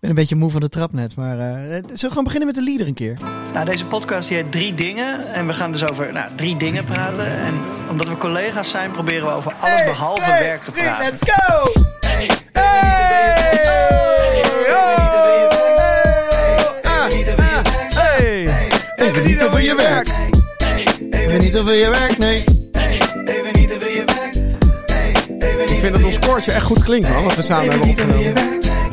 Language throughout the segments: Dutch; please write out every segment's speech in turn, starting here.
ben een beetje moe van de trap net. Maar eh, zullen we gewoon beginnen met de lieder een keer? Nou, deze podcast die heet Drie Dingen. En we gaan dus over nou, drie dingen praten. En omdat we collega's zijn, proberen we over alles behalve werk te praten. let's go! Ah, Hey! Even niet over je werk. Even niet over je werk, nee. Ik vind dat ons koortje echt goed klinkt, man. Wat we samen hebben opgenomen.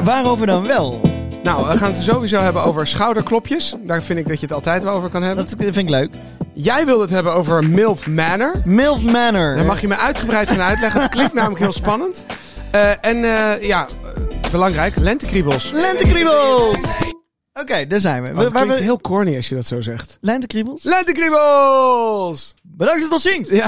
Waarover dan wel? Nou, we gaan het sowieso hebben over schouderklopjes. Daar vind ik dat je het altijd wel over kan hebben. Dat vind ik leuk. Jij wilde het hebben over MILF Manor. Milf Manor. Dan mag je me uitgebreid gaan uitleggen. Dat klinkt namelijk heel spannend. Eh, en eh, ja, eh, belangrijk, lentekriebels. Lentekriebels! Oké, daar zijn we. Maar we, het waar klinkt we... heel corny als je dat zo zegt. Lentekriebels? Lentekriebels! Bedankt dat het al zingt! Ja.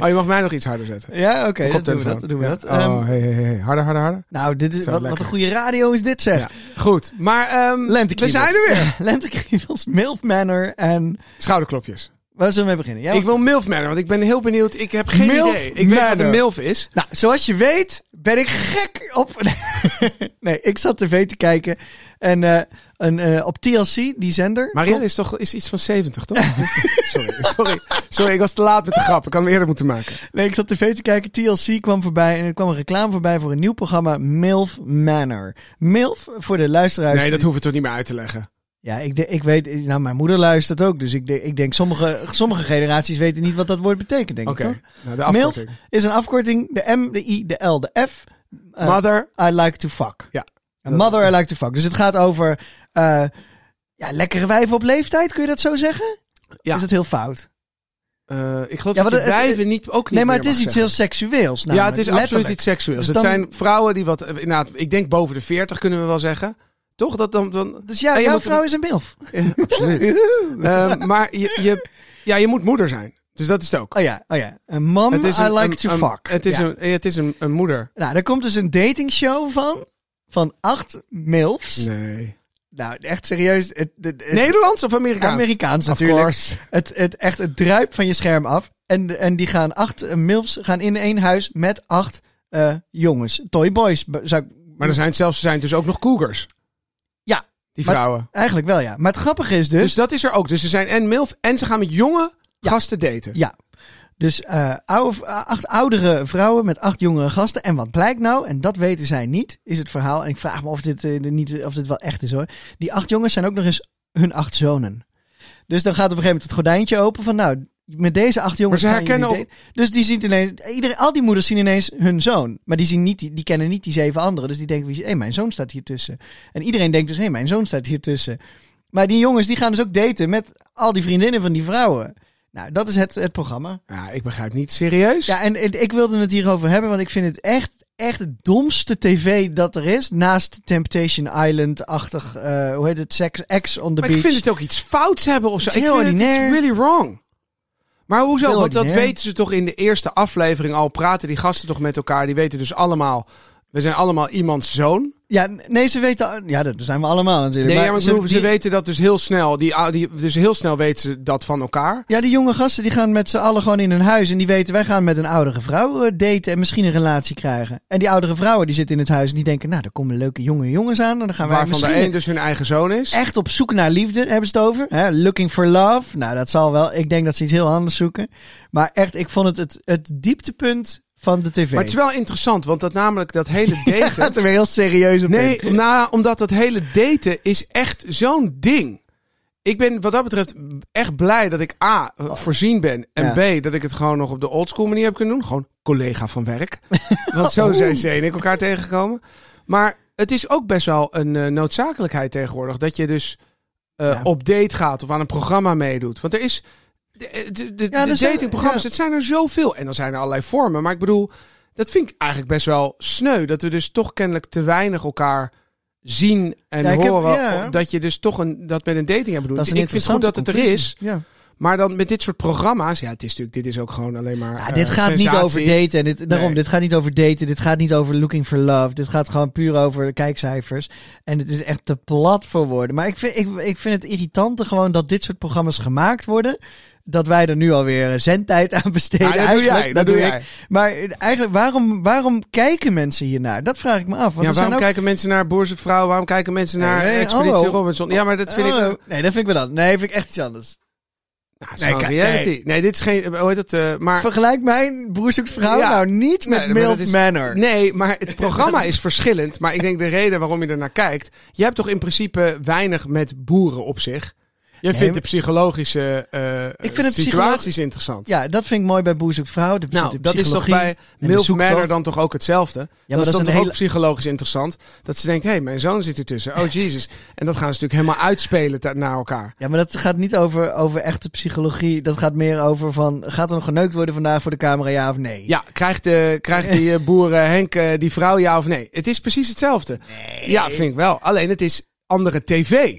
oh, je mag mij nog iets harder zetten. Ja, oké, dat doen we Koptelefoon. dat. Doen we Ja. dat. Ehm, Oh, hey, hey, hey. Harder, harder, harder. nou, dit is, Zo, wat, wat een lekker. goede radio is dit zeg. Ja. Goed, maar ehm, we Lentekriebels. zijn er weer. Ja, Lentekriebels, Milf Manor en... Schouderklopjes. Waar zullen we mee beginnen? Jij Ik mag- wil MILF Manor, want ik ben heel benieuwd. Ik heb geen Milf idee. Ik weet wat Manor. een MILF is. Nou, zoals je weet ben ik gek op... nee, ik zat tv te kijken en eh, een, eh, op TLC, die zender... Marianne is toch is iets van 70, toch? sorry, sorry, sorry, ik was te laat met de grap. Ik had hem eerder moeten maken. Nee, ik zat tv te kijken. TLC kwam voorbij en er kwam een reclame voorbij voor een nieuw programma, MILF Manor. MILF, voor de luisteraars... Nee, dat hoeven we toch niet meer uit te leggen. Ja, ik, de- ik weet... Nou, mijn moeder luistert ook, dus ik, de- ik denk sommige, sommige generaties weten niet wat dat woord betekent, denk Oké, ik, toch? nou, de MILF afkorting. is een afkorting, de M, de I, de L, de F. eh, Mother. I like to fuck. Ja. En mother, I like to fuck. Dus het gaat over eh, ja, lekkere wijven op leeftijd, kun je dat zo zeggen? Ja. Is dat heel fout? Eh, ik geloof Ja, dat maar je het- wijven niet, ook niet nee, maar het meer is mag iets zeggen. heel seksueels. Ja, namelijk, het is absoluut letterlijk. iets seksueels. Dus het dan- zijn vrouwen die wat... eh, inderdaad, ik denk boven de 40 kunnen we wel zeggen. Toch? Dat dan... dan Dus ja, En je jouw moet- vrouw is een milf. eh, absoluut. Eh, maar je, je, ja, je moet moeder zijn. Dus dat is het ook. Oh ja, oh ja. Een mom, I like een- to een- fuck. Het is, Ja. een, eh, het is een, een moeder. Nou, daar komt dus een datingshow van. Van acht milfs. Nee. Nou, echt serieus. Het, het, het- Nederlands of Amerikaans? Amerikaans Of natuurlijk. course. Het, het, echt, het druipt van je scherm af. En, en die gaan acht eh, milfs gaan in één huis met acht eh, jongens. Toyboys. b- Zou ik, Maar er zijn zelfs er zijn dus ook nog cougars, ja, die Maar- vrouwen. eigenlijk wel ja. Maar het grappige is dus... dus dat is er ook. Dus ze zijn en MILF en ze gaan met jonge gasten daten. ja. Dus eh, oude, acht oudere vrouwen met acht jongere gasten. En wat blijkt nou, en dat weten zij niet, is het verhaal. En ik vraag me of dit, eh, niet, of dit wel echt is hoor. Die acht jongens zijn ook nog eens hun acht zonen. Dus dan gaat op een gegeven moment het gordijntje open van nou, met deze acht jongens Maar ze gaan jullie herkennen daten. Dus die zien ineens, iedereen, al die moeders zien ineens hun zoon. Maar die, zien niet, die, die kennen niet die zeven anderen. Dus die denken, hé, hey, mijn zoon staat hier tussen. En iedereen denkt dus, hé, hey, mijn zoon staat hier tussen. Maar die jongens die gaan dus ook daten met al die vriendinnen van die vrouwen. Nou, dat is het, het programma. Ja, ik begrijp niet. Serieus? Ja, en, en ik wilde het hierover hebben, want ik vind het echt, echt het domste tv dat er is. Naast Temptation Island-achtig, eh, hoe heet het, Sex X on the maar ik Beach. vind het ook iets fouts hebben of zo. Het is ik heel vind het it's ordinair. really wrong. Maar hoezo? Heel Want dat ordinair. weten ze toch in de eerste aflevering al. Praten die gasten toch met elkaar. Die weten dus allemaal... We zijn allemaal iemands zoon. Ja, nee, ze weten... al- Ja, dat zijn we allemaal natuurlijk. Nee, ja, maar ik bedoel, ze, die- weten dat dus heel snel. Die, ou- die, dus heel snel weten ze dat van elkaar. Ja, die jonge gasten die gaan met z'n allen gewoon in hun huis. En die weten, wij gaan met een oudere vrouw eh, daten en misschien een relatie krijgen. En die oudere vrouwen die zitten in het huis en die denken... Nou, er komen leuke jonge jongens aan en dan gaan wij Waarvan de misschien... een dus hun eigen zoon is. Echt op zoek naar liefde hebben ze het over. Hè? Looking for love. Nou, dat zal wel. Ik denk dat ze iets heel anders zoeken. Maar echt, ik vond het het, het dieptepunt van de tv. Maar het is wel interessant, want dat namelijk dat hele Het daten... gaat er weer heel serieus op Nee, in. nou, omdat dat hele daten is echt zo'n ding. Ik ben wat dat betreft echt blij dat ik A, voorzien ben. En B, dat ik het gewoon nog op de oldschool manier heb kunnen doen. Gewoon collega van werk. Want zo zijn ze en ik elkaar tegengekomen. Maar het is ook best wel een eh, noodzakelijkheid tegenwoordig. Dat je dus eh, Ja. op date gaat of aan een programma meedoet. Want er is... De, de, de, Ja, de er zijn- datingprogramma's, ja. het zijn er zoveel. En dan zijn er allerlei vormen. Maar ik bedoel, dat vind ik eigenlijk best wel sneu. Dat we dus toch kennelijk te weinig elkaar zien en Ja, ik heb- horen. ja. Dat je dus toch een, dat met een dating hebt bedoeld. Dat is een ik vind het goed interessante dat het er conclusie. is. Ja. Maar dan met dit soort programma's. Ja, het is natuurlijk, dit is ook gewoon alleen maar. Ja, eh, Ah, dit gaat niet sensatie. over daten. en Dit, daarom, Nee. dit gaat niet over daten. Dit gaat niet over looking for love. Dit gaat gewoon puur over kijkcijfers. En het is echt te plat voor woorden. Maar ik vind, ik, ik vind het irritante gewoon dat dit soort programma's gemaakt worden. dat wij er nu alweer eh, zendtijd aan besteden. Ja, dat doe Eigenlijk, jij, dat doe jij. ik. Maar eh, eigenlijk, waarom, waarom kijken mensen hiernaar? Dat vraag ik me af. Want Ja, er zijn waarom ook... kijken mensen naar Boer zoekt Vrouw? Waarom kijken mensen naar Nee, nee, Expeditie hallo. Robinson? Ja, maar dat vind ik... Oh, Nee, dat vind ik wel dan. Nee, vind ik echt iets anders. Nou, het is Nee, gewoon kijk, reality. Nee. dit is geen... Hoe heet het? eh, maar... Vergelijk mijn broer zoekt vrouw Ja. nou niet met Nee, maar Milf dat is- Manor. Nee, maar het programma is verschillend. Maar ik denk de reden waarom je ernaar kijkt... Je hebt toch in principe weinig met boeren op zich? Je vindt maar- de psychologische eh, vind het situaties psychologisch- interessant. Ja, dat vind ik mooi bij Boer zoekt vrouw. De, Nou, de dat is toch psychologie bij de Milf zoektocht. Manor dan toch ook hetzelfde? Ja, maar dat, dat is is dan een toch ook hele- psychologisch interessant? Dat ze denkt, hé, hey, mijn zoon zit ertussen. Oh, jezus. En dat gaan ze natuurlijk helemaal uitspelen ta- naar elkaar. Ja, maar dat gaat niet over, over echte psychologie. Dat gaat meer over van, gaat er nog geneukt worden vandaag voor de camera, ja of nee? Ja, krijgt, eh, krijgt die eh, boer eh, Henk eh, die vrouw ja of nee? Het is precies hetzelfde. Ja, vind ik wel. Alleen het is andere tv.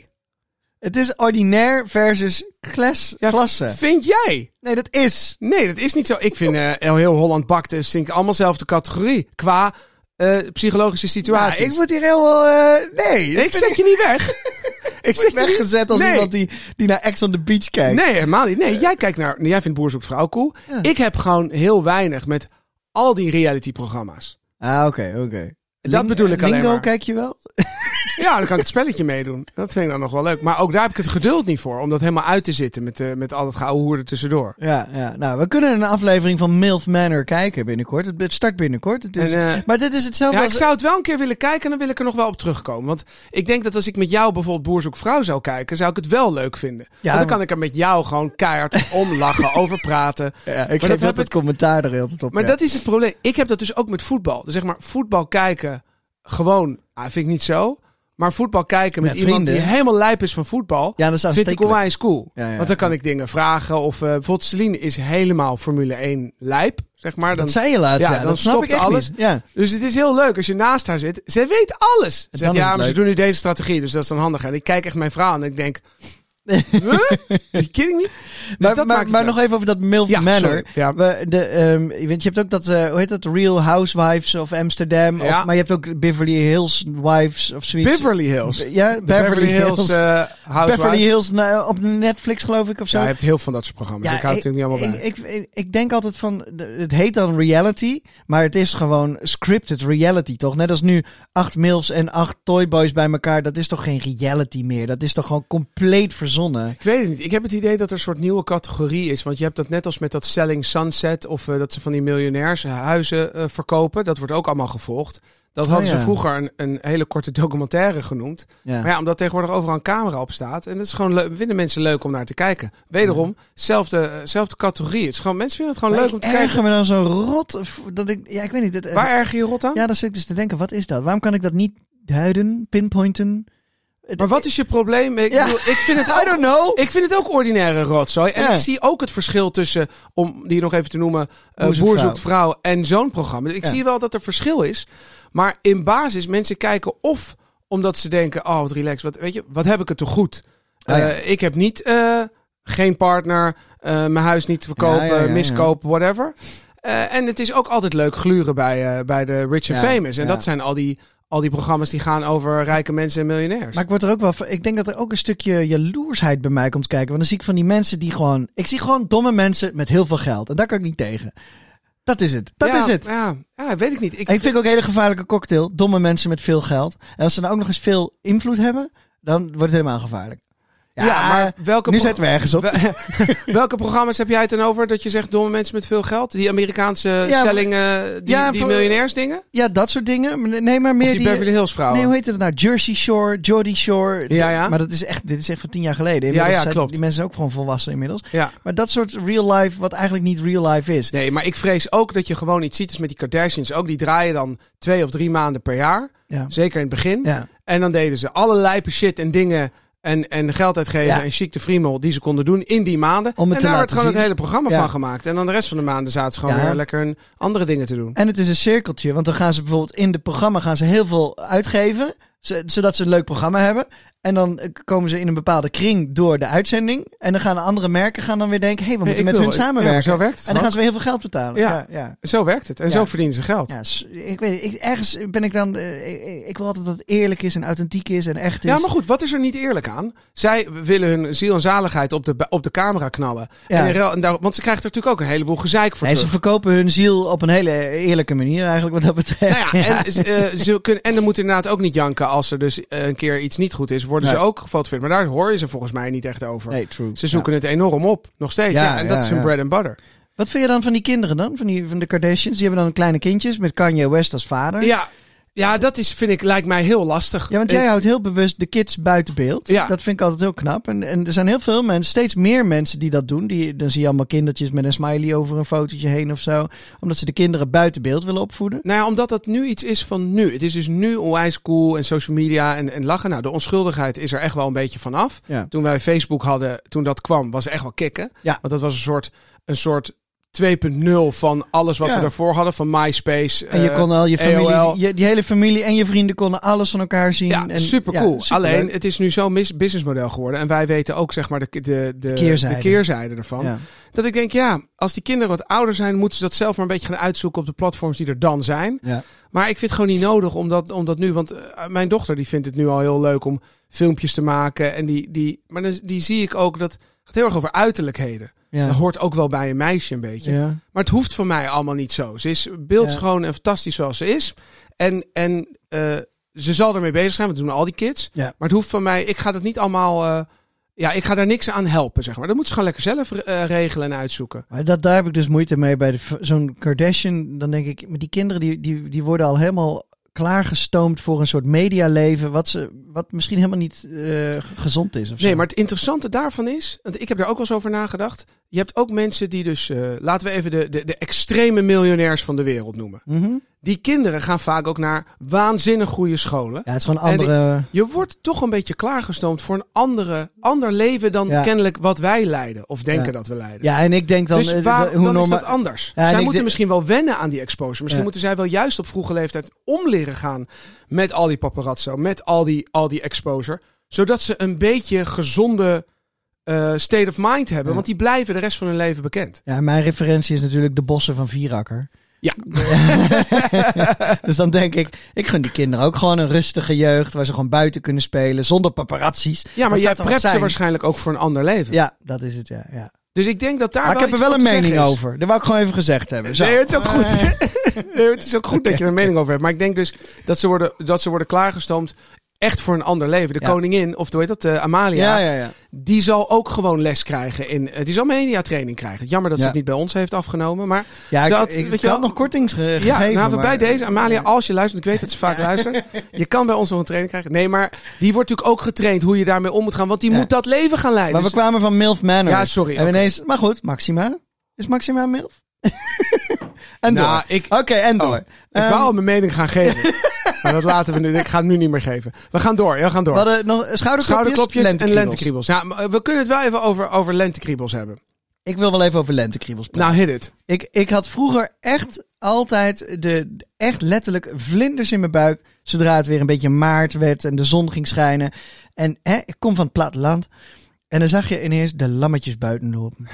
Het is ordinair versus klas, Ja, klasse. v- Vind jij? Nee, dat is. Nee, dat is niet zo. Ik vind eh, heel heel Holland bakt, eh, vind ik allemaal dezelfde categorie. Qua eh, psychologische Ja, situaties. Ah, ik word hier heel... eh, nee, Nee, ik zet je niet weg. ik word zet je niet- weggezet als Nee. iemand die, die naar Ex on the Beach kijkt. Nee, helemaal niet. Nee, jij kijkt naar. Jij vindt Boer zoekt vrouw cool. Ja. Ik heb gewoon heel weinig met al die reality-programma's. Ah, oké, oké. Ling- bedoel ik Lingo alleen maar. kijk je wel? Ja, dan kan ik het spelletje meedoen. Dat vind ik dan nog wel leuk. Maar ook daar heb ik het geduld niet voor. Om dat helemaal uit te zitten met, eh, met al dat gouden hoer er tussendoor. Ja, ja, nou, we kunnen een aflevering van Milf Manor kijken binnenkort. Het- Het start binnenkort. Het is, En, eh, maar dit is hetzelfde Ja, ik als... zou het wel een keer willen kijken en dan wil ik er nog wel op terugkomen. Want ik denk dat als ik met jou bijvoorbeeld Boer zoekt vrouw zou kijken, zou ik het wel leuk vinden. Want dan maar- kan ik er met jou gewoon keihard om lachen, over praten. Ja, dat ik geef heb dat ik- het commentaar er heel tijd op. Maar ja. dat is het probleem. Ik heb dat dus ook met voetbal. Dus zeg maar, voetbal kijken gewoon, ah, vind ik niet zo. Maar voetbal kijken met Met iemand die vrienden. helemaal lijp is van voetbal, Ja, dat is vind ik aanstekelijk. onwijs cool. Ja, ja, Want dan kan ja. ik dingen vragen. Of eh bijvoorbeeld Celine is helemaal Formule 1 lijp, zeg maar. Dan, Dat zei je laatst, Ja, ja. dan dat snap stopt ik echt alles. niet. Ja. dus het is heel leuk als je naast haar zit. Zij weet alles. Ze zegt, dan is ja, het maar ze leuk. doen nu deze strategie, dus dat is dan handig. En ik kijk echt mijn vrouw aan en ik denk, huh? Are you kidding me? Dus Maar, dat maar, maakt het maar leuk. nog even over dat Milf Ja, Manor. sorry. Ja. We, de, ehm, je weet, je hebt ook dat, eh, hoe heet dat, Real Housewives of Amsterdam. Ja. Of, maar je hebt ook Beverly Hills Wives of zoiets. Beverly Hills. Be- ja, De Beverly Hills eh Housewives. Beverly Hills na- op Netflix geloof ik of zo. Ja, je hebt heel veel van dat soort programma's. ik hou het natuurlijk niet allemaal bij. ik, ik, ik denk altijd van, de- het heet dan reality, maar het is gewoon scripted reality, toch? Net als nu acht mils en acht toyboys bij elkaar, dat is toch geen reality meer? Dat is toch gewoon compleet verzonnen? Ik weet het niet. Ik heb het idee dat er een soort nieuwe categorie is. Want je hebt dat net als met dat Selling Sunset. Of eh, dat ze van die miljonairs huizen eh, verkopen. Dat wordt ook allemaal gevolgd. Dat hadden Oh ja. ze vroeger een, een hele korte documentaire genoemd. Ja. Maar ja, omdat tegenwoordig overal een camera op staat. En dat is gewoon leuk. Vinden mensen leuk om naar te kijken. Wederom, zelfde, eh, zelfde categorie. Het is gewoon, mensen vinden het gewoon Maar leuk om ik te erger kijken. me dan zo rot, f- dat ik, ja, ik weet niet. Het, Waar erger je rot aan? Ja, dan zit ik dus te denken, wat is dat? Waarom kan ik dat niet duiden, pinpointen? Het- Maar wat is je probleem? Ik, Ja. bedoel, ik vind het I don't know. Ik vind het ook ordinaire rotzooi. En Ja. ik zie ook het verschil tussen, om die nog even te noemen, eh, Boer zoekt Boer vrouw. zoekt vrouw en zo'n programma. Dus Ik Ja. zie wel dat er verschil is. Maar in basis, mensen kijken of omdat ze denken, oh wat relaxed, wat, weet je, wat heb ik het toch goed? Ah, ja. Eh, ik heb niet, eh, geen partner, eh, mijn huis niet te verkopen, Ja, ja, ja, miskopen, whatever. Eh, en het is ook altijd leuk gluren bij, eh, bij de Rich Ja, and Famous. En ja. dat zijn al die, al die programma's die gaan over rijke mensen en miljonairs. Maar ik word er ook wel. van- Ik denk dat er ook een stukje jaloersheid bij mij komt kijken. Want dan zie ik van die mensen die gewoon. Ik zie gewoon domme mensen met heel veel geld. En daar kan ik niet tegen. Dat is het. Dat Ja, is het. Ja, ja, weet ik niet. Ik, Ik vind ook een hele gevaarlijke cocktail. Domme mensen met veel geld. En als ze dan ook nog eens veel invloed hebben, dan wordt het helemaal gevaarlijk. Ja, Ja, maar eh, welke nu pro- zetten we ergens op. Wel- Welke programma's heb jij het dan over dat je zegt domme mensen met veel geld? Die Amerikaanse Ja, stelling, eh, die, ja, die voor- miljonairs dingen? Ja, dat soort dingen. Maar Nee, maar meer Of die, Beverly Hills vrouwen? Nee, hoe heet het nou? Jersey Shore, Geordie Shore. Oh. Ja, ja. Maar dat is echt, dit is echt van tien jaar geleden. ja, Inmiddels zijn klopt. Die mensen ook gewoon volwassen inmiddels. ja. Maar dat soort real life, wat eigenlijk niet real life is. Nee, maar ik vrees ook dat je gewoon iets ziet als met die Kardashians ook. Die draaien dan twee of drie maanden per jaar. Ja. Zeker in het begin. Ja. En dan deden ze alle lijpe shit en dingen en, en geld uitgeven Ja. en chic de friemel die ze konden doen in die maanden. Om het en te daar werd laten gewoon het zien. hele programma Ja. van gemaakt. En dan de rest van de maanden zaten ze gewoon Ja. weer lekker hun andere dingen te doen. En het is een cirkeltje, want dan gaan ze bijvoorbeeld in het programma gaan ze heel veel uitgeven, zo- zodat ze een leuk programma hebben. En dan eh, komen ze in een bepaalde kring door de uitzending. En dan gaan de andere merken gaan dan weer denken... hé, hey, we Hey, moeten met ik wil- hun ja, samenwerken. zo werkt het en dan ook. gaan ze weer heel veel geld betalen. Ja. Ja, ja. Zo werkt het. En Ja. zo verdienen ze geld. Ja, s- ik weet niet, ik, ergens ben ik dan... eh, ik, ik wil altijd dat het eerlijk is en authentiek is en echt is. Ja, maar goed, wat is er niet eerlijk aan? Zij willen hun ziel en zaligheid op de, op de camera knallen. Ja. En in ruil- en daar, want ze krijgen er natuurlijk ook een heleboel gezeik voor Nee, ze terug. verkopen hun ziel op een hele eerlijke manier eigenlijk wat dat betreft. Nou ja, Ja. en, ze- eh, ze kunnen, en dan moeten inderdaad ook niet janken als er dus eh, een keer iets niet goed is. Worden Nee. ze ook gefotografeerd. Maar daar hoor je ze volgens mij niet echt over. nee, true. Ze Ja. zoeken het enorm op, nog steeds. Ja, Ja, en dat ja, is hun ja. bread and butter. Wat vind je dan van die kinderen dan? Van, die, van de Kardashians? Die hebben dan kleine kindjes met Kanye West als vader. Ja, ja dat is, vind ik, lijkt mij heel lastig. Ja, want jij houdt heel bewust de kids buiten beeld. Ja. Dat vind ik altijd heel knap. En, en er zijn heel veel mensen, steeds meer mensen die dat doen. Die, dan zie je allemaal kindertjes met een smiley over een fotootje heen of zo. Omdat ze de kinderen buiten beeld willen opvoeden. Nou ja, omdat dat nu iets is van nu. Het is dus nu onwijs cool en social media en, en lachen. Nou, de onschuldigheid is er echt wel een beetje vanaf. Ja. Toen wij Facebook hadden, toen dat kwam, was echt wel kicken. Ja. Want dat was een soort, een soort 2.0 van alles wat Ja. we daarvoor hadden. Van MySpace. En je eh, kon al je AOL. familie, je, die hele familie en je vrienden konden alles van elkaar zien. Ja, en, super cool. ja, superleuk. Alleen, het is nu zo'n mis- businessmodel geworden. En wij weten ook, zeg maar, de, de, de, de keerzijde. keerzijde ervan. Ja. Dat ik denk, ja, als die kinderen wat ouder zijn, moeten ze dat zelf maar een beetje gaan uitzoeken op de platforms die er dan zijn. Ja. Maar ik vind het gewoon niet nodig om dat, om dat nu. Want eh, mijn dochter die vindt het nu al heel leuk om filmpjes te maken. En die, die, maar dan- die zie ik ook dat gaat heel erg over uiterlijkheden. Ja. Dat hoort ook wel bij een meisje een beetje. Ja. Maar het hoeft van mij allemaal niet zo. Ze is beeldschoon en fantastisch zoals ze is. En, en eh, ze zal ermee bezig zijn. We doen al die kids. Ja. Maar het hoeft van mij. Ik ga dat niet allemaal. eh, ja, ik ga daar niks aan helpen, zeg maar. Dat moet ze gewoon lekker zelf eh, regelen en uitzoeken. Maar dat, daar heb ik dus moeite mee bij de v- zo'n Kardashian. Dan denk ik, maar die kinderen die, die, die worden al helemaal klaargestoomd voor een soort medialeven. Wat, ze, wat misschien helemaal niet eh, gezond is. Of zo. Nee, maar het interessante daarvan is, want ik heb daar ook wel eens over nagedacht. Je hebt ook mensen die dus, eh, laten we even de, de, de extreme miljonairs van de wereld noemen. Mhm. Die kinderen gaan vaak ook naar waanzinnig goede scholen. Ja, het is gewoon En ik- andere. Je wordt toch een beetje klaargestoomd voor een andere, ander leven dan Ja. kennelijk wat wij leiden. Of denken Ja. dat we leiden. Ja, en ik denk dan. eh, dus waar, hoe dan is norma- dat anders. Ja, en ik zij moeten denk- misschien wel wennen aan die exposure. Misschien Ja. moeten zij wel juist op vroege leeftijd om leren gaan met al die paparazzo, met al die, al die exposure. Zodat ze een beetje gezonde eh, state of mind hebben. Ja. Want die blijven de rest van hun leven bekend. Ja, mijn referentie is natuurlijk de bossen van Vierakker. Ja. dus dan denk ik, ik gun die kinderen ook gewoon een rustige jeugd waar ze gewoon buiten kunnen spelen zonder paparazzi's. Ja, maar Dat jij zou toch wat prept ze zijn? waarschijnlijk ook voor een ander leven. Ja, dat is het, ja. ja. Dus ik denk dat daar Maar ik heb er iets wel een voor te mening zeggen is. over. Dat wou ik gewoon even gezegd hebben. Zo. Nee, het is ook goed. Nee, het is ook goed dat je er een mening over hebt. Maar ik denk dus dat ze worden, dat ze worden klaargestoomd echt voor een ander leven. De Ja. koningin, of hoe heet dat, eh, Amalia, ja, ja, ja. die zal ook gewoon les krijgen. In, eh, die zal mediatraining krijgen. Jammer dat Ja. ze het niet bij ons heeft afgenomen. Maar Ja, Ze ik, had- ik, weet je ik had wel- nog kortings ge- ja, gegeven. nou, maar- bij deze, Amalia, als je luistert, ik weet dat ze vaak luistert. Je kan bij ons nog een training krijgen. Nee, maar die wordt natuurlijk ook getraind hoe je daarmee om moet gaan. Want die Ja. moet dat leven gaan leiden. Maar we Dus- kwamen van MILF Manor. Ja, sorry, En oké. ineens, maar goed, Maxima. Is Maxima een MILF? en nou, door. ik, Oké, en door. Oh, ik ehm. wou al mijn mening gaan geven. maar dat laten we nu. Ik ga het nu niet meer geven. We gaan door. We gaan door. We hadden nog schouderklopjes, Schouderklopjes lentekriebels. en lentekriebels. Ja, maar, eh, we kunnen het wel even over, over lentekriebels hebben. Ik wil wel even over lentekriebels praten. Nou, hit it. Ik, ik had vroeger echt altijd de, echt letterlijk vlinders in mijn buik. Zodra het weer een beetje maart werd en de zon ging schijnen. En hè, ik kom van het platteland. En dan zag je ineens de lammetjes buiten lopen.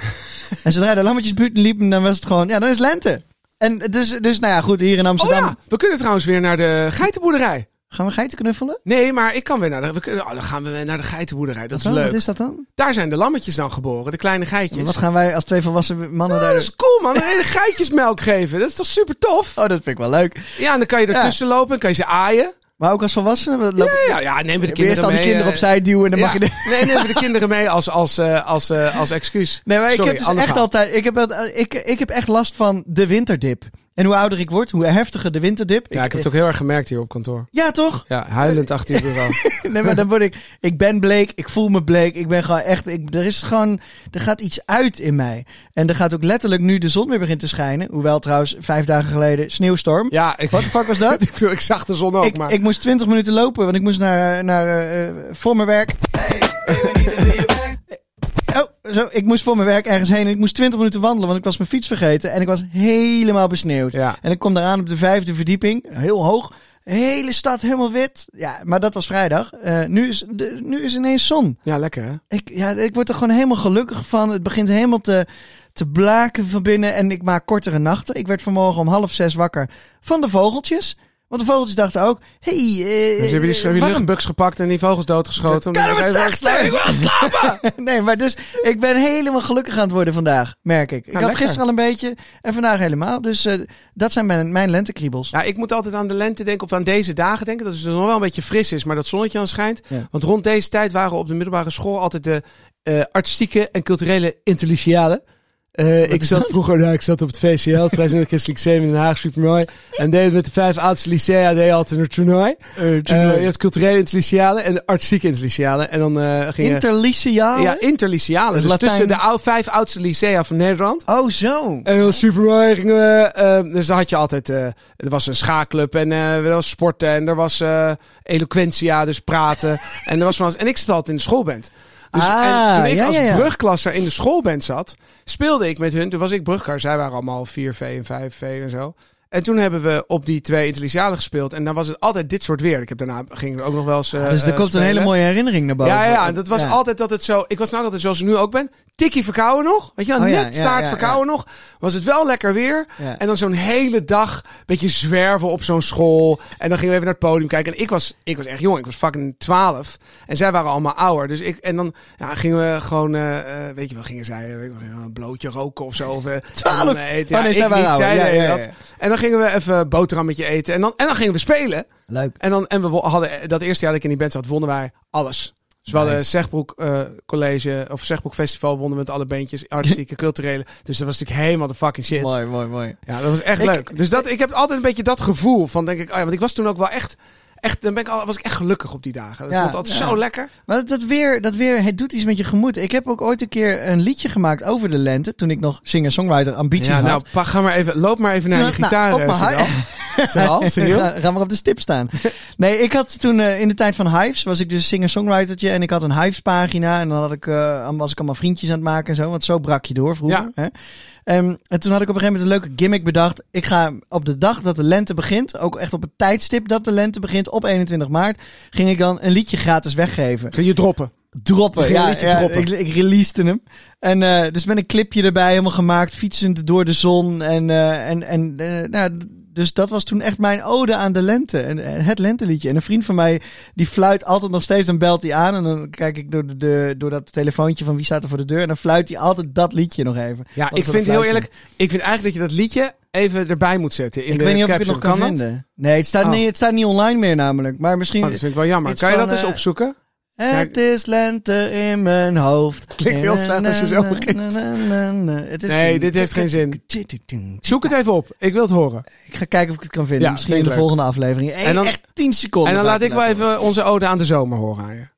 en zodra de lammetjes buiten liepen, dan was het gewoon, ja, dan is lente. En dus, dus nou ja, goed, hier in Oh Amsterdam. ja, we kunnen trouwens weer naar de geitenboerderij. Gaan we geiten knuffelen? Nee, maar ik kan weer naar de... We kunnen, oh, dan gaan we weer naar de geitenboerderij. Dat is Wat dan? leuk. Wat is dat dan? Daar zijn de lammetjes dan geboren. De kleine geitjes. Wat gaan wij als twee volwassen mannen Oh, daar... dat is cool, man. Een hele geitjesmelk geven. Dat is toch super tof? Oh, dat vind ik wel leuk. Ja, en dan kan je ertussen lopen en kan je ze aaien. Maar ook als volwassenen? we lopen- Ja, ja, neem we de kinderen Eerst al die mee, kinderen eh, opzij duwen en dan mag je ja. de... Nee, nemen we de kinderen mee als, als, eh, als, eh, als excuus. Nee, maar ik Sorry, heb dus ander echt verhaal. altijd. Ik heb, altijd- ik, ik heb echt last van de winterdip. En hoe ouder ik word, hoe heftiger de winterdip. Ja, ik heb het ook heel erg gemerkt hier op kantoor. Ja, toch? Ja, huilend achter je bureau. Nee, maar dan word ik. Ik ben bleek, ik voel me bleek. Ik ben gewoon echt. Ik, er is gewoon. Er gaat iets uit in mij. En er gaat ook letterlijk nu de zon weer begint te schijnen. Hoewel trouwens, vijf dagen geleden sneeuwstorm. Ja, ik, Wat de fuck was dat? Ik bedoel, ik zag de zon ook, ik, maar... ik moest 20 minuten lopen, want ik moest naar, eh, naar eh, eh, voor mijn werk. Oh, zo, ik moest voor mijn werk ergens heen en ik moest 20 minuten wandelen, want ik was mijn fiets vergeten en ik was helemaal besneeuwd. Ja. En ik kom eraan op de vijfde verdieping, heel hoog. Hele stad helemaal wit. Ja, maar dat was vrijdag. Eh, nu, is, de- nu is ineens zon. Ja, lekker hè? Ik, ja, ik word er gewoon helemaal gelukkig van. Het begint helemaal te, te blaken van binnen. En ik maak kortere nachten. Ik werd vanmorgen om half zes wakker van de vogeltjes. Want de vogeltjes dachten ook... Hey, eh, Dus je hebt die, eh, heb je warm. luchtbugs gepakt en die vogels doodgeschoten. Kan er maar Omdat- Hij is zacht wel zijn. sterk. Nee, maar dus ik ben helemaal gelukkig aan het worden vandaag, merk ik. Ik had Nou, lekker. gisteren al een beetje en vandaag helemaal. Dus eh, dat zijn mijn, mijn lentekriebels. Ja, Nou, ik moet altijd aan de lente denken, of aan deze dagen denken. Dat het nog wel een beetje fris is, maar dat zonnetje aan schijnt. Ja. Want rond deze tijd waren op de middelbare school altijd de eh, artistieke en culturele intelligentialen. Eh, ik is zat dat? vroeger, nou, ik zat op het VCL, het Vrijzinnig Christelijk Lyceum in Den Haag, supermooi. En deed met de vijf oudste lycea, deed altijd een toernooi. Eh, je hebt culturele intelligentialen en de artistieke intelligentialen. En dan eh ging je- Interliciaal. Ja, interlycealen. Dus Dus, Latijn- tussen de ou- vijf oudste lycea van Nederland. Oh, zo. En heel super mooi gingen we. eh, dus dan had je altijd. eh, er was een schaakclub en eh, er was sporten en er was eh eloquentia, dus praten. en er was van alles. En ik zat altijd in de schoolband. Dus, Ah, en toen ik ja, als ja, ja. brugklasser in de schoolband zat, speelde ik met hun. Toen was ik brugklasser. Zij waren allemaal 4V en 5V en zo. En toen hebben we op die twee intelligentialen gespeeld. En dan was het altijd dit soort weer. Ik heb daarna ging er ook nog wel eens. eh, dus er eh, komt een hele spelen. mooie herinnering naar boven. Ja, ja, en dat was Ja. altijd dat het zo. Ik was nou altijd zoals ik nu ook ben. Tikkie verkouden nog. Weet je, wel, Oh, ja, net ja, staart ja, verkouden nog. Was het wel lekker weer. Ja. En dan zo'n hele dag een beetje zwerven op zo'n school. En dan gingen we even naar het podium kijken. En ik was, ik was echt jong. Ik was fucking 12. En zij waren allemaal ouder. Dus ik, en dan ja, gingen we gewoon, eh, eh, weet je wel, gingen zij eh, weet ik wel, een blootje roken of zo. Of, eh, Twaalf? en dan eten. Oh, nee, Ja, zij ik waren niet, ouder. zij Ja, deden ja, ja, dat. ja. En dan gingen we even een boterhammetje eten. En dan, en dan gingen we spelen. Leuk. En, dan, en we wo- hadden eh, dat eerste jaar dat ik in die band zat, wonnen wij alles. Dus we hadden Nice. Zegbroek eh, College of Zegbroek Festival wonnen we met alle bandjes, artistieke, culturele. Dus dat was natuurlijk helemaal de fucking shit. Mooi, mooi, mooi. Ja, dat was echt Ik- leuk. Dus dat, ik heb altijd een beetje dat gevoel van, denk ik, oh ja, want ik was toen ook wel echt, echt dan ben ik al, was ik echt gelukkig op die dagen. Dat Ja, vond ik altijd ja. zo lekker. Maar dat, dat weer, dat weer, het doet iets met je gemoed. Ik heb ook ooit een keer een liedje gemaakt over de lente. Toen ik nog singer-songwriter ambities Ja, had. nou, pa, ga maar even, loop maar even naar je Terug- nou, gitaar. op mijn eh, Sedal. Sedal, Cyril. ga, ga maar op de stip staan. Nee, ik had toen eh, in de tijd van Hives, was ik dus singer-songwritertje. En ik had een Hives-pagina. En dan had ik, eh, was ik allemaal vriendjes aan het maken en zo. Want zo brak je door vroeger. Hè? Ehm, en toen had ik op een gegeven moment een leuke gimmick bedacht. Ik ga op de dag dat de lente begint, ook echt op het tijdstip dat de lente begint, op 21 maart, ging ik dan een liedje gratis weggeven. Ging je droppen. Droppen, Ging een ja. liedje ja, droppen. Ik, ik releasede hem. En eh, dus met een clipje erbij, helemaal gemaakt, fietsend door de zon. En, eh, en, en eh, nou, d- dus dat was toen echt mijn ode aan de lente. En, eh, het lenteliedje. En een vriend van mij, die fluit altijd nog steeds, dan belt hij aan. En dan kijk ik door, de, de- door dat telefoontje van wie staat er voor de deur. En dan fluit hij altijd dat liedje nog even. Ja, Dat ik is wel vind heel fluitje. eerlijk, ik vind eigenlijk dat je dat liedje even erbij moet zetten. In Ik de weet niet of ik het caption. nog kan, dat? vinden. Nee het, staat Oh. niet, het staat niet online meer namelijk. Maar misschien... Oh, dat vind ik wel jammer. Iets Kan je van, dat eens eh, opzoeken? Het is lente in mijn hoofd. Klinkt heel slecht als je zo begint. Het is Nee, dit heeft geen zin. Zoek het even op. Ik wil het horen. Ik ga kijken of ik het kan vinden. Ja, Misschien in vind de ik leuk. volgende aflevering. En dan- echt 10 seconden. En dan ga laat ik wel laten even onze ode aan de zomer horen aan je. horen.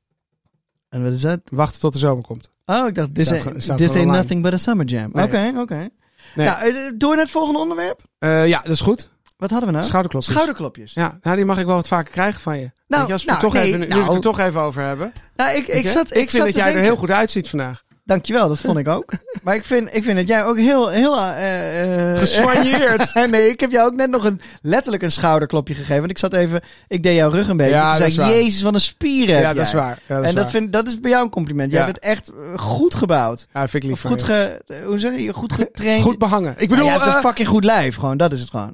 En wat is dat? Wachten tot de zomer komt. Oh, ik dacht, this, Staat ge- ain't, staat this gewoon ain't online. nothing but a summer jam. Oké, Nee. oké. Nee. Nou, eh, door naar het volgende onderwerp. Eh, ja, dat is goed. Wat hadden we nou? Schouderklopjes. Schouderklopjes. Ja, nou, die mag ik wel wat vaker krijgen van je. Nou, Weet je, als we nou, toch nee, even, nu we het nou. er toch even over hebben. Nou, ik, Weet ik je? zat, ik vind zat dat te jij denken. er heel goed uitziet vandaag. Dankjewel, dat vond ik ook. maar ik vind, ik vind dat jij ook heel... heel eh, eh, Gesoigneerd. nee, ik heb jou ook net nog een, letterlijk een schouderklopje gegeven. Want ik zat even... Ik deed jouw rug een beetje. Ja, Toen dat zei is ik, waar. jezus, wat een spieren ja, heb dat jij." is waar. Ja, dat is en dat waar. vind, dat is bij jou een compliment. Jij Ja. bent echt eh, goed gebouwd. Ja, vind ik lief Of van goed, je. ge, eh, hoe zeg je? goed getraind. Goed behangen. Ik Nou, bedoel... jij hebt eh, een fucking goed lijf, gewoon. Dat is het gewoon.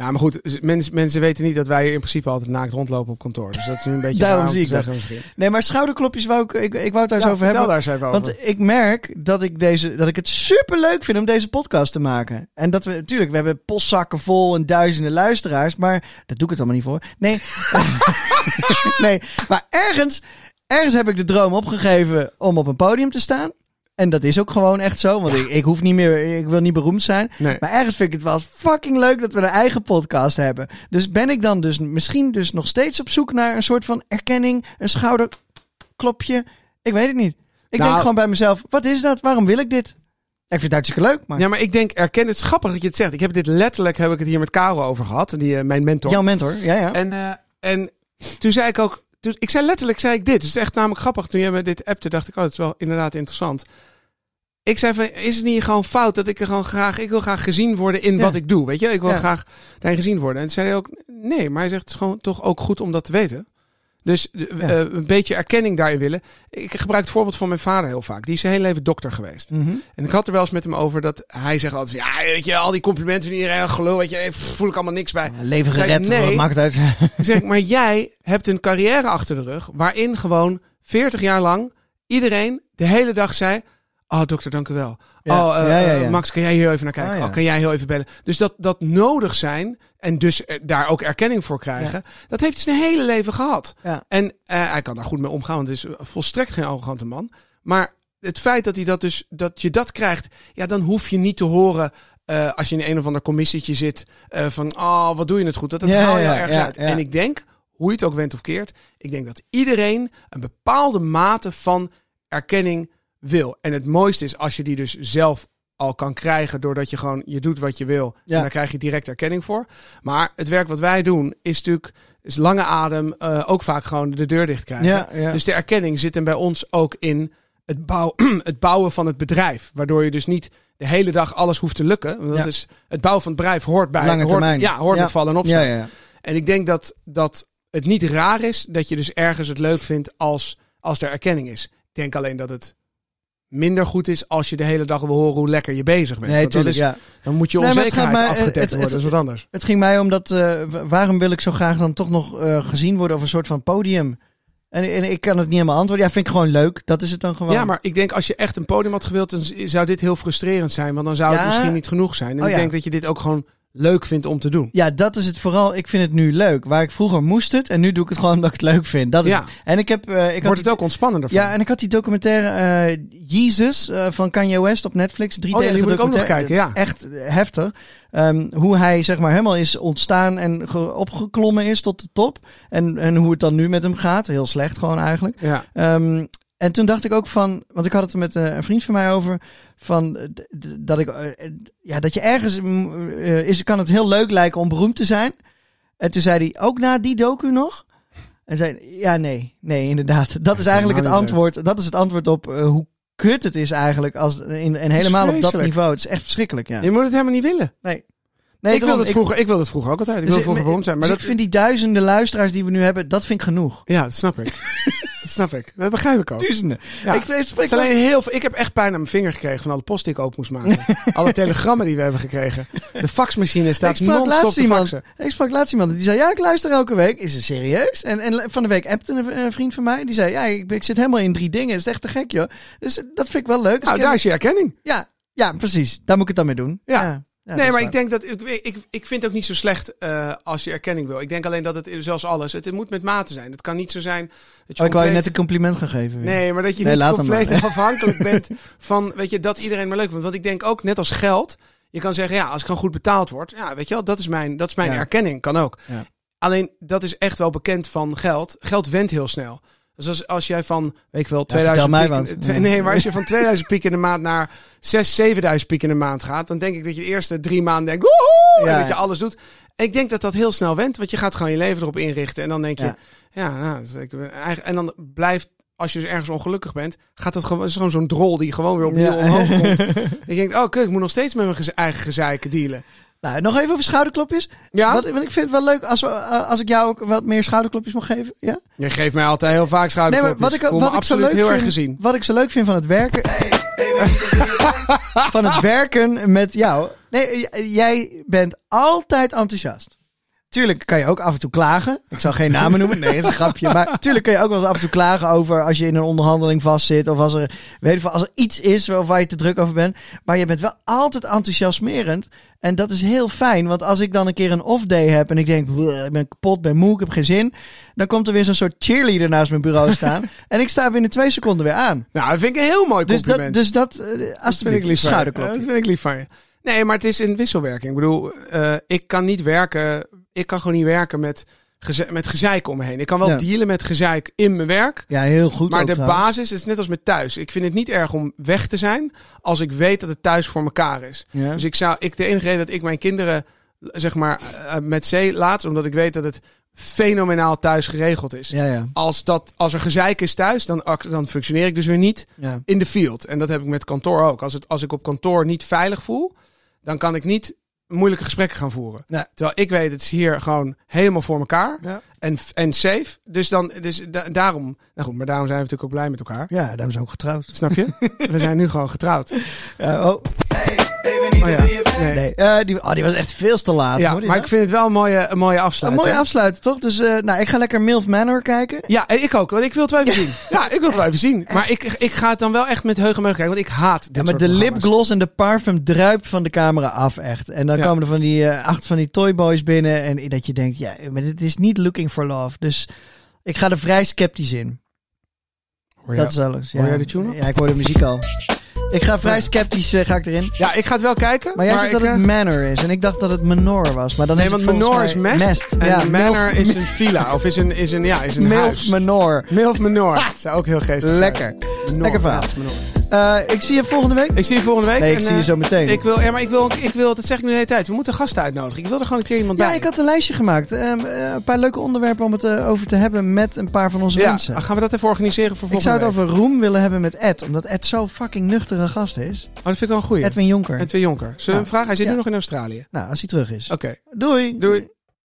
ja, maar goed. Mensen, mensen weten niet dat wij hier in principe altijd naakt rondlopen op kantoor. Dus dat is nu een beetje Daarom raar om zie te ik dat. zeggen misschien. Nee, maar schouderklopjes wou ik... Ik, ik wou het daar eens Ja, over vertel hebben. daar eens even over. Want ik merk dat ik, deze, dat ik het super leuk vind om deze podcast te maken. En dat we, natuurlijk, we hebben postzakken vol en duizenden luisteraars. Maar dat doe ik het allemaal niet voor. Nee. nee. Maar ergens, ergens heb ik de droom opgegeven om op een podium te staan. En dat is ook gewoon echt zo. Want ik, ik hoef niet meer, ik wil niet beroemd zijn. Nee. Maar ergens vind ik het wel fucking leuk dat we een eigen podcast hebben. Dus ben ik dan dus misschien dus nog steeds op zoek naar een soort van erkenning, een schouderklopje. Ik weet het niet. Ik Nou- denk gewoon bij mezelf, wat is dat? Waarom wil ik dit? Ik vind het hartstikke leuk, maar Ja, maar ik denk, erken het is grappig dat je het zegt. Ik heb dit letterlijk, heb ik het hier met Karel over gehad, die, eh, mijn mentor. jouw mentor. Ja, ja. En, eh, en toen zei ik ook, toen, ik zei letterlijk, zei ik dit. Het is echt namelijk grappig. Toen jij me dit appte, dacht ik, oh, dat is wel inderdaad interessant. Ik zei van, is het niet gewoon fout dat ik er gewoon graag... Ik wil graag gezien worden in Ja. wat ik doe, weet je? Ik wil Ja. graag daarin gezien worden. En toen zei hij ook, nee, maar hij zegt, het is gewoon toch ook goed om dat te weten. Dus eh, eh, een beetje erkenning daarin willen. Ik gebruik het voorbeeld van mijn vader heel vaak. Die is zijn hele leven dokter geweest. Mhm. En ik had er wel eens met hem over dat hij zegt altijd... Ja, weet je, al die complimenten van iedereen, gelul, weet je, eh, voel ik allemaal niks bij. Leven Zei ik, gered, nee. wat maakt het uit. Ik zeg, maar jij hebt een carrière achter de rug waarin gewoon 40 jaar lang iedereen de hele dag zei... Oh, dokter, dank u wel. Ja, Oh, eh, ja, ja, ja. eh, Max, kan jij hier even naar kijken? Ah, ja. Oh, kan jij heel even bellen? Dus dat, dat nodig zijn en dus eh, daar ook erkenning voor krijgen... dat heeft hij zijn hele leven gehad. Ja. En eh, hij kan daar goed mee omgaan, want het is volstrekt geen arrogante man. Maar het feit dat, hij dat, dus, dat je dat krijgt, ja, dan hoef je niet te horen... eh, als je in een of ander commissietje zit, eh, van oh, wat doe je het goed? Dat, dat Ja, haal je ja, ergens ja, uit. ja. En ik denk, hoe je het ook went of keert, ik denk dat iedereen een bepaalde mate van erkenning wil. En het mooiste is als je die dus zelf al kan krijgen doordat je gewoon je doet wat je wil. Ja. En daar krijg je direct erkenning voor. Maar het werk wat wij doen is natuurlijk is lange adem eh, ook vaak gewoon de deur dicht krijgen. Ja, ja. Dus de erkenning zit hem bij ons ook in het, bouw, het bouwen van het bedrijf. Waardoor je dus niet de hele dag alles hoeft te lukken. Want dat Ja. is, het bouwen van het bedrijf hoort bij. Lange hoort, termijn. Ja, hoort Ja. met vallen en opstaan. ja, ja. En ik denk dat, dat het niet raar is dat je dus ergens het leuk vindt als, als er erkenning is. Ik denk alleen dat het minder goed is als je de hele dag wil horen hoe lekker je bezig bent. Nee, Want dat tuurlijk, is, ja. Dan moet je Nee, maar het onzekerheid gaat maar- eh, het- afgedekt het- worden. Dat is wat anders. Het ging mij om dat, eh, wa- waarom wil ik zo graag dan toch nog eh, gezien worden op een soort van podium? En, en ik kan het niet helemaal antwoorden. Ja, vind ik gewoon leuk. Dat is het dan gewoon. Ja, maar ik denk als je echt een podium had gewild, dan z- zou dit heel frustrerend zijn. Want dan zou Ja? het misschien niet genoeg zijn. En Oh, ik ja. denk dat je dit ook gewoon leuk vindt om te doen. Ja, dat is het vooral. Ik vind het nu leuk. Waar ik vroeger moest het en nu doe ik het gewoon omdat ik het leuk vind. Dat is Ja. het. En ik heb... eh, ik had Wordt het ook ontspannender van? Ja, en ik had die documentaire eh Jesus eh, van Kanye West op Netflix. Drie Oh ja, delen die moet ik ook nog documentaire. kijken, Dat is Echt eh, heftig. Ehm, hoe hij zeg maar helemaal is ontstaan en ge- opgeklommen is tot de top. En, en hoe het dan nu met hem gaat. Heel slecht gewoon eigenlijk. Ja. Ehm, en toen dacht ik ook van, want ik had het er met eh, een vriend van mij over, van eh, d- d- dat ik, eh, eh, ja, dat je ergens mm, eh, is, kan het heel leuk lijken om beroemd te zijn. En toen zei hij ook na die docu nog. En zei, ja, nee, nee, inderdaad. Dat is eigenlijk het helemaal niet antwoord. Dat is het antwoord op eh, hoe kut het is eigenlijk als in, en helemaal op dat vreselijk. niveau. Het is echt verschrikkelijk, ja. Je moet het helemaal niet willen. Nee, ik, daarom, wilde het vroeger, ik wilde het vroeger ook altijd. Ik dus wilde vroeger beroemd zijn. Maar dus dat, ik vind die duizenden luisteraars die we nu hebben, dat vind ik genoeg. Ja, dat snap ik. dat snap ik. Dat begrijp ik ook. Duizenden. Ja. Ik, ik spreek Het is alleen heel veel, ik heb echt pijn aan mijn vinger gekregen van alle post die ik open moest maken. alle telegrammen die we hebben gekregen. De faxmachine Ik staat sprak non-stop laatst te iemand. faxen. Ik sprak laatst iemand en die zei: Ja, ik luister elke week. Is ze serieus? En, en van de week appte een, een vriend van mij. Die zei: Ja, ik, ik zit helemaal in drie dingen. Het is echt te gek, joh. Dus eh, dat vind ik wel leuk. Dus Nou, ik daar heb- is je erkenning. ja, ja, precies. Daar moet ik het dan mee doen. Ja. Ja, dat nee, is maar waar. ik denk dat... Ik, ik, ik vind het ook niet zo slecht eh, als je erkenning wil. Ik denk alleen dat het, zoals alles, het, moet met mate zijn. Het kan niet zo zijn dat je Oh, ik wou je compleet- net een compliment gaan geven. weer. Nee, maar dat je Nee, niet laat hem maar. compleet afhankelijk bent van, weet je, dat iedereen maar leuk vindt. Want ik denk ook, net als geld, je kan zeggen, ja, als ik gewoon goed betaald word, ja, weet je wel, dat is mijn, dat is mijn Ja. erkenning, kan ook. Ja. Alleen, dat is echt wel bekend van geld. Geld went heel snel. Dus als, als jij van, weet ik wel, vertel 2000 mij piek, wat. eh, twe- Ja. nee, maar als je van 2000 piek in de maand naar 6, 7000 piek in de maand gaat, dan denk ik dat je de eerste drie maanden denkt, woehoe, en Ja, dat je ja. alles doet. En ik denk dat dat heel snel went, want je gaat gewoon je leven erop inrichten. En dan denk je, Ja. ja, nou, dat is- ik ben eigen- en dan blijft, als je dus ergens ongelukkig bent, gaat het gewoon, is gewoon zo'n drol die gewoon weer opnieuw Ja. omhoog komt. Ik denk, oh kut, ik moet nog steeds met mijn geze- eigen gezeiken dealen. Nou, nog even over schouderklopjes. Ja, Wat, want ik vind het wel leuk als, we, eh, als ik jou ook wat meer schouderklopjes mag geven. Ja? je geeft mij altijd heel vaak Nee, maar schouderklopjes. wat ik, wat voel me ik zo absoluut leuk heel vind, erg gezien. Wat ik zo leuk vind van het werken. van het werken met jou. Nee, j- jij bent altijd enthousiast. Tuurlijk kan je ook af en toe klagen. Ik zal geen namen noemen. Nee, dat is een grapje. Maar tuurlijk kun je ook wel eens af en toe klagen over als je in een onderhandeling vastzit. Of als er, weet ik veel, als er iets is waar waar je te druk over bent. Maar je bent wel altijd enthousiasmerend. En dat is heel fijn. Want als ik dan een keer een off-day heb en ik denk, "Bleh, ik ben kapot, ben moe, ik heb geen zin. Dan komt er weer zo'n soort cheerleader naast mijn bureau staan. en ik sta binnen twee seconden weer aan. Nou, dat vind ik een heel mooi Dus compliment. dat, dus dat, eh, Dat vind ik alsjeblieft, lief van je. schouderklopje. Eh, Dat vind ik lief van je. Nee, maar het is een wisselwerking. Ik bedoel, eh, ik kan niet werken. Ik kan gewoon niet werken met, geze met gezeik om me heen. Ik kan wel Ja. dealen met gezeik in mijn werk. Ja, heel goed. Maar ook de trouwens. basis is net als met thuis. Ik vind het niet erg om weg te zijn als ik weet dat het thuis voor elkaar is. Ja. eh, Dus ik zou, ik, de enige reden dat ik mijn kinderen, zeg maar, eh, met zee laat, omdat ik weet dat het fenomenaal thuis geregeld is. Ja, ja. Als, dat, als er gezeik is thuis, dan, act- dan functioneer ik dus weer niet ja. in de field. En dat heb ik met kantoor ook. Als, het, als ik op kantoor niet veilig voel, dan kan ik niet moeilijke gesprekken gaan voeren. Nee. Terwijl ik weet, het is hier gewoon helemaal voor elkaar Ja. en, en safe. Dus, dan, dus da- daarom, nou goed, maar daarom zijn we natuurlijk ook blij met elkaar. Ja, daarom zijn we ook getrouwd. Snap je? we zijn nu gewoon getrouwd. Ja, oh, Even niet Oh ja, wie je bent. nee. nee. eh, die, oh, die was echt veel te laat. ja, hoor, die maar nou. ik vind het wel een mooie, een mooie Een afsluiting. mooie afsluiten, toch? Dus eh, nou, ik ga lekker Milf Manor kijken. Ja, en ik ook, want ik wil het wel even zien. Ja, ik wil het wel even zien. Maar ik, ik ga het dan wel echt met heugen meug kijken, want ik haat dit Ja, maar soort de programma's. lipgloss en de parfum druipt van de camera af, echt. En dan Ja. komen er van die eh, acht van die toyboys binnen. En dat je denkt, ja, maar dit is niet looking for love. Dus ik ga er vrij sceptisch in. Hoor je- Dat is alles. Hoor ja. jij de tune al? Ja, ik hoor de muziek al. Ik ga vrij sceptisch eh, ga ik erin. Ja, ik ga het wel kijken. Maar jij zegt dat ik, eh, het manor is. En ik dacht dat het manor was. Maar dan Nee, is het want volgens Menor is mij mest. En ja, Manor milf- is een villa. Of is een, is een, ja, is een Milf huis. manor. Milf Menor. Zou ook heel geestig zijn. Lekker. Menor, Lekker verhaal. Milf Menor. Eh, ik zie je volgende week. Ik zie je volgende week. Nee, ik en, zie je eh, zo meteen. Ik wil, ja, maar ik wil, ik wil, dat zeg ik nu de hele tijd. We moeten gasten uitnodigen. Ik wil er gewoon een keer iemand Ja, bij. ik had een lijstje gemaakt. Ehm, eh, een paar leuke onderwerpen om het eh, over te hebben met een paar van onze Ja, mensen. gaan we dat even organiseren voor ik volgende zou het week? over roem willen hebben met Ed. Omdat Ed zo'n fucking nuchtere gast is. Oh, dat vind ik wel een goeie. Edwin Jonker. Edwin Jonker. Zullen we hem vragen? Hij zit Ja. nu nog in Australië. Nou, als hij terug is. Oké, Doei. doei.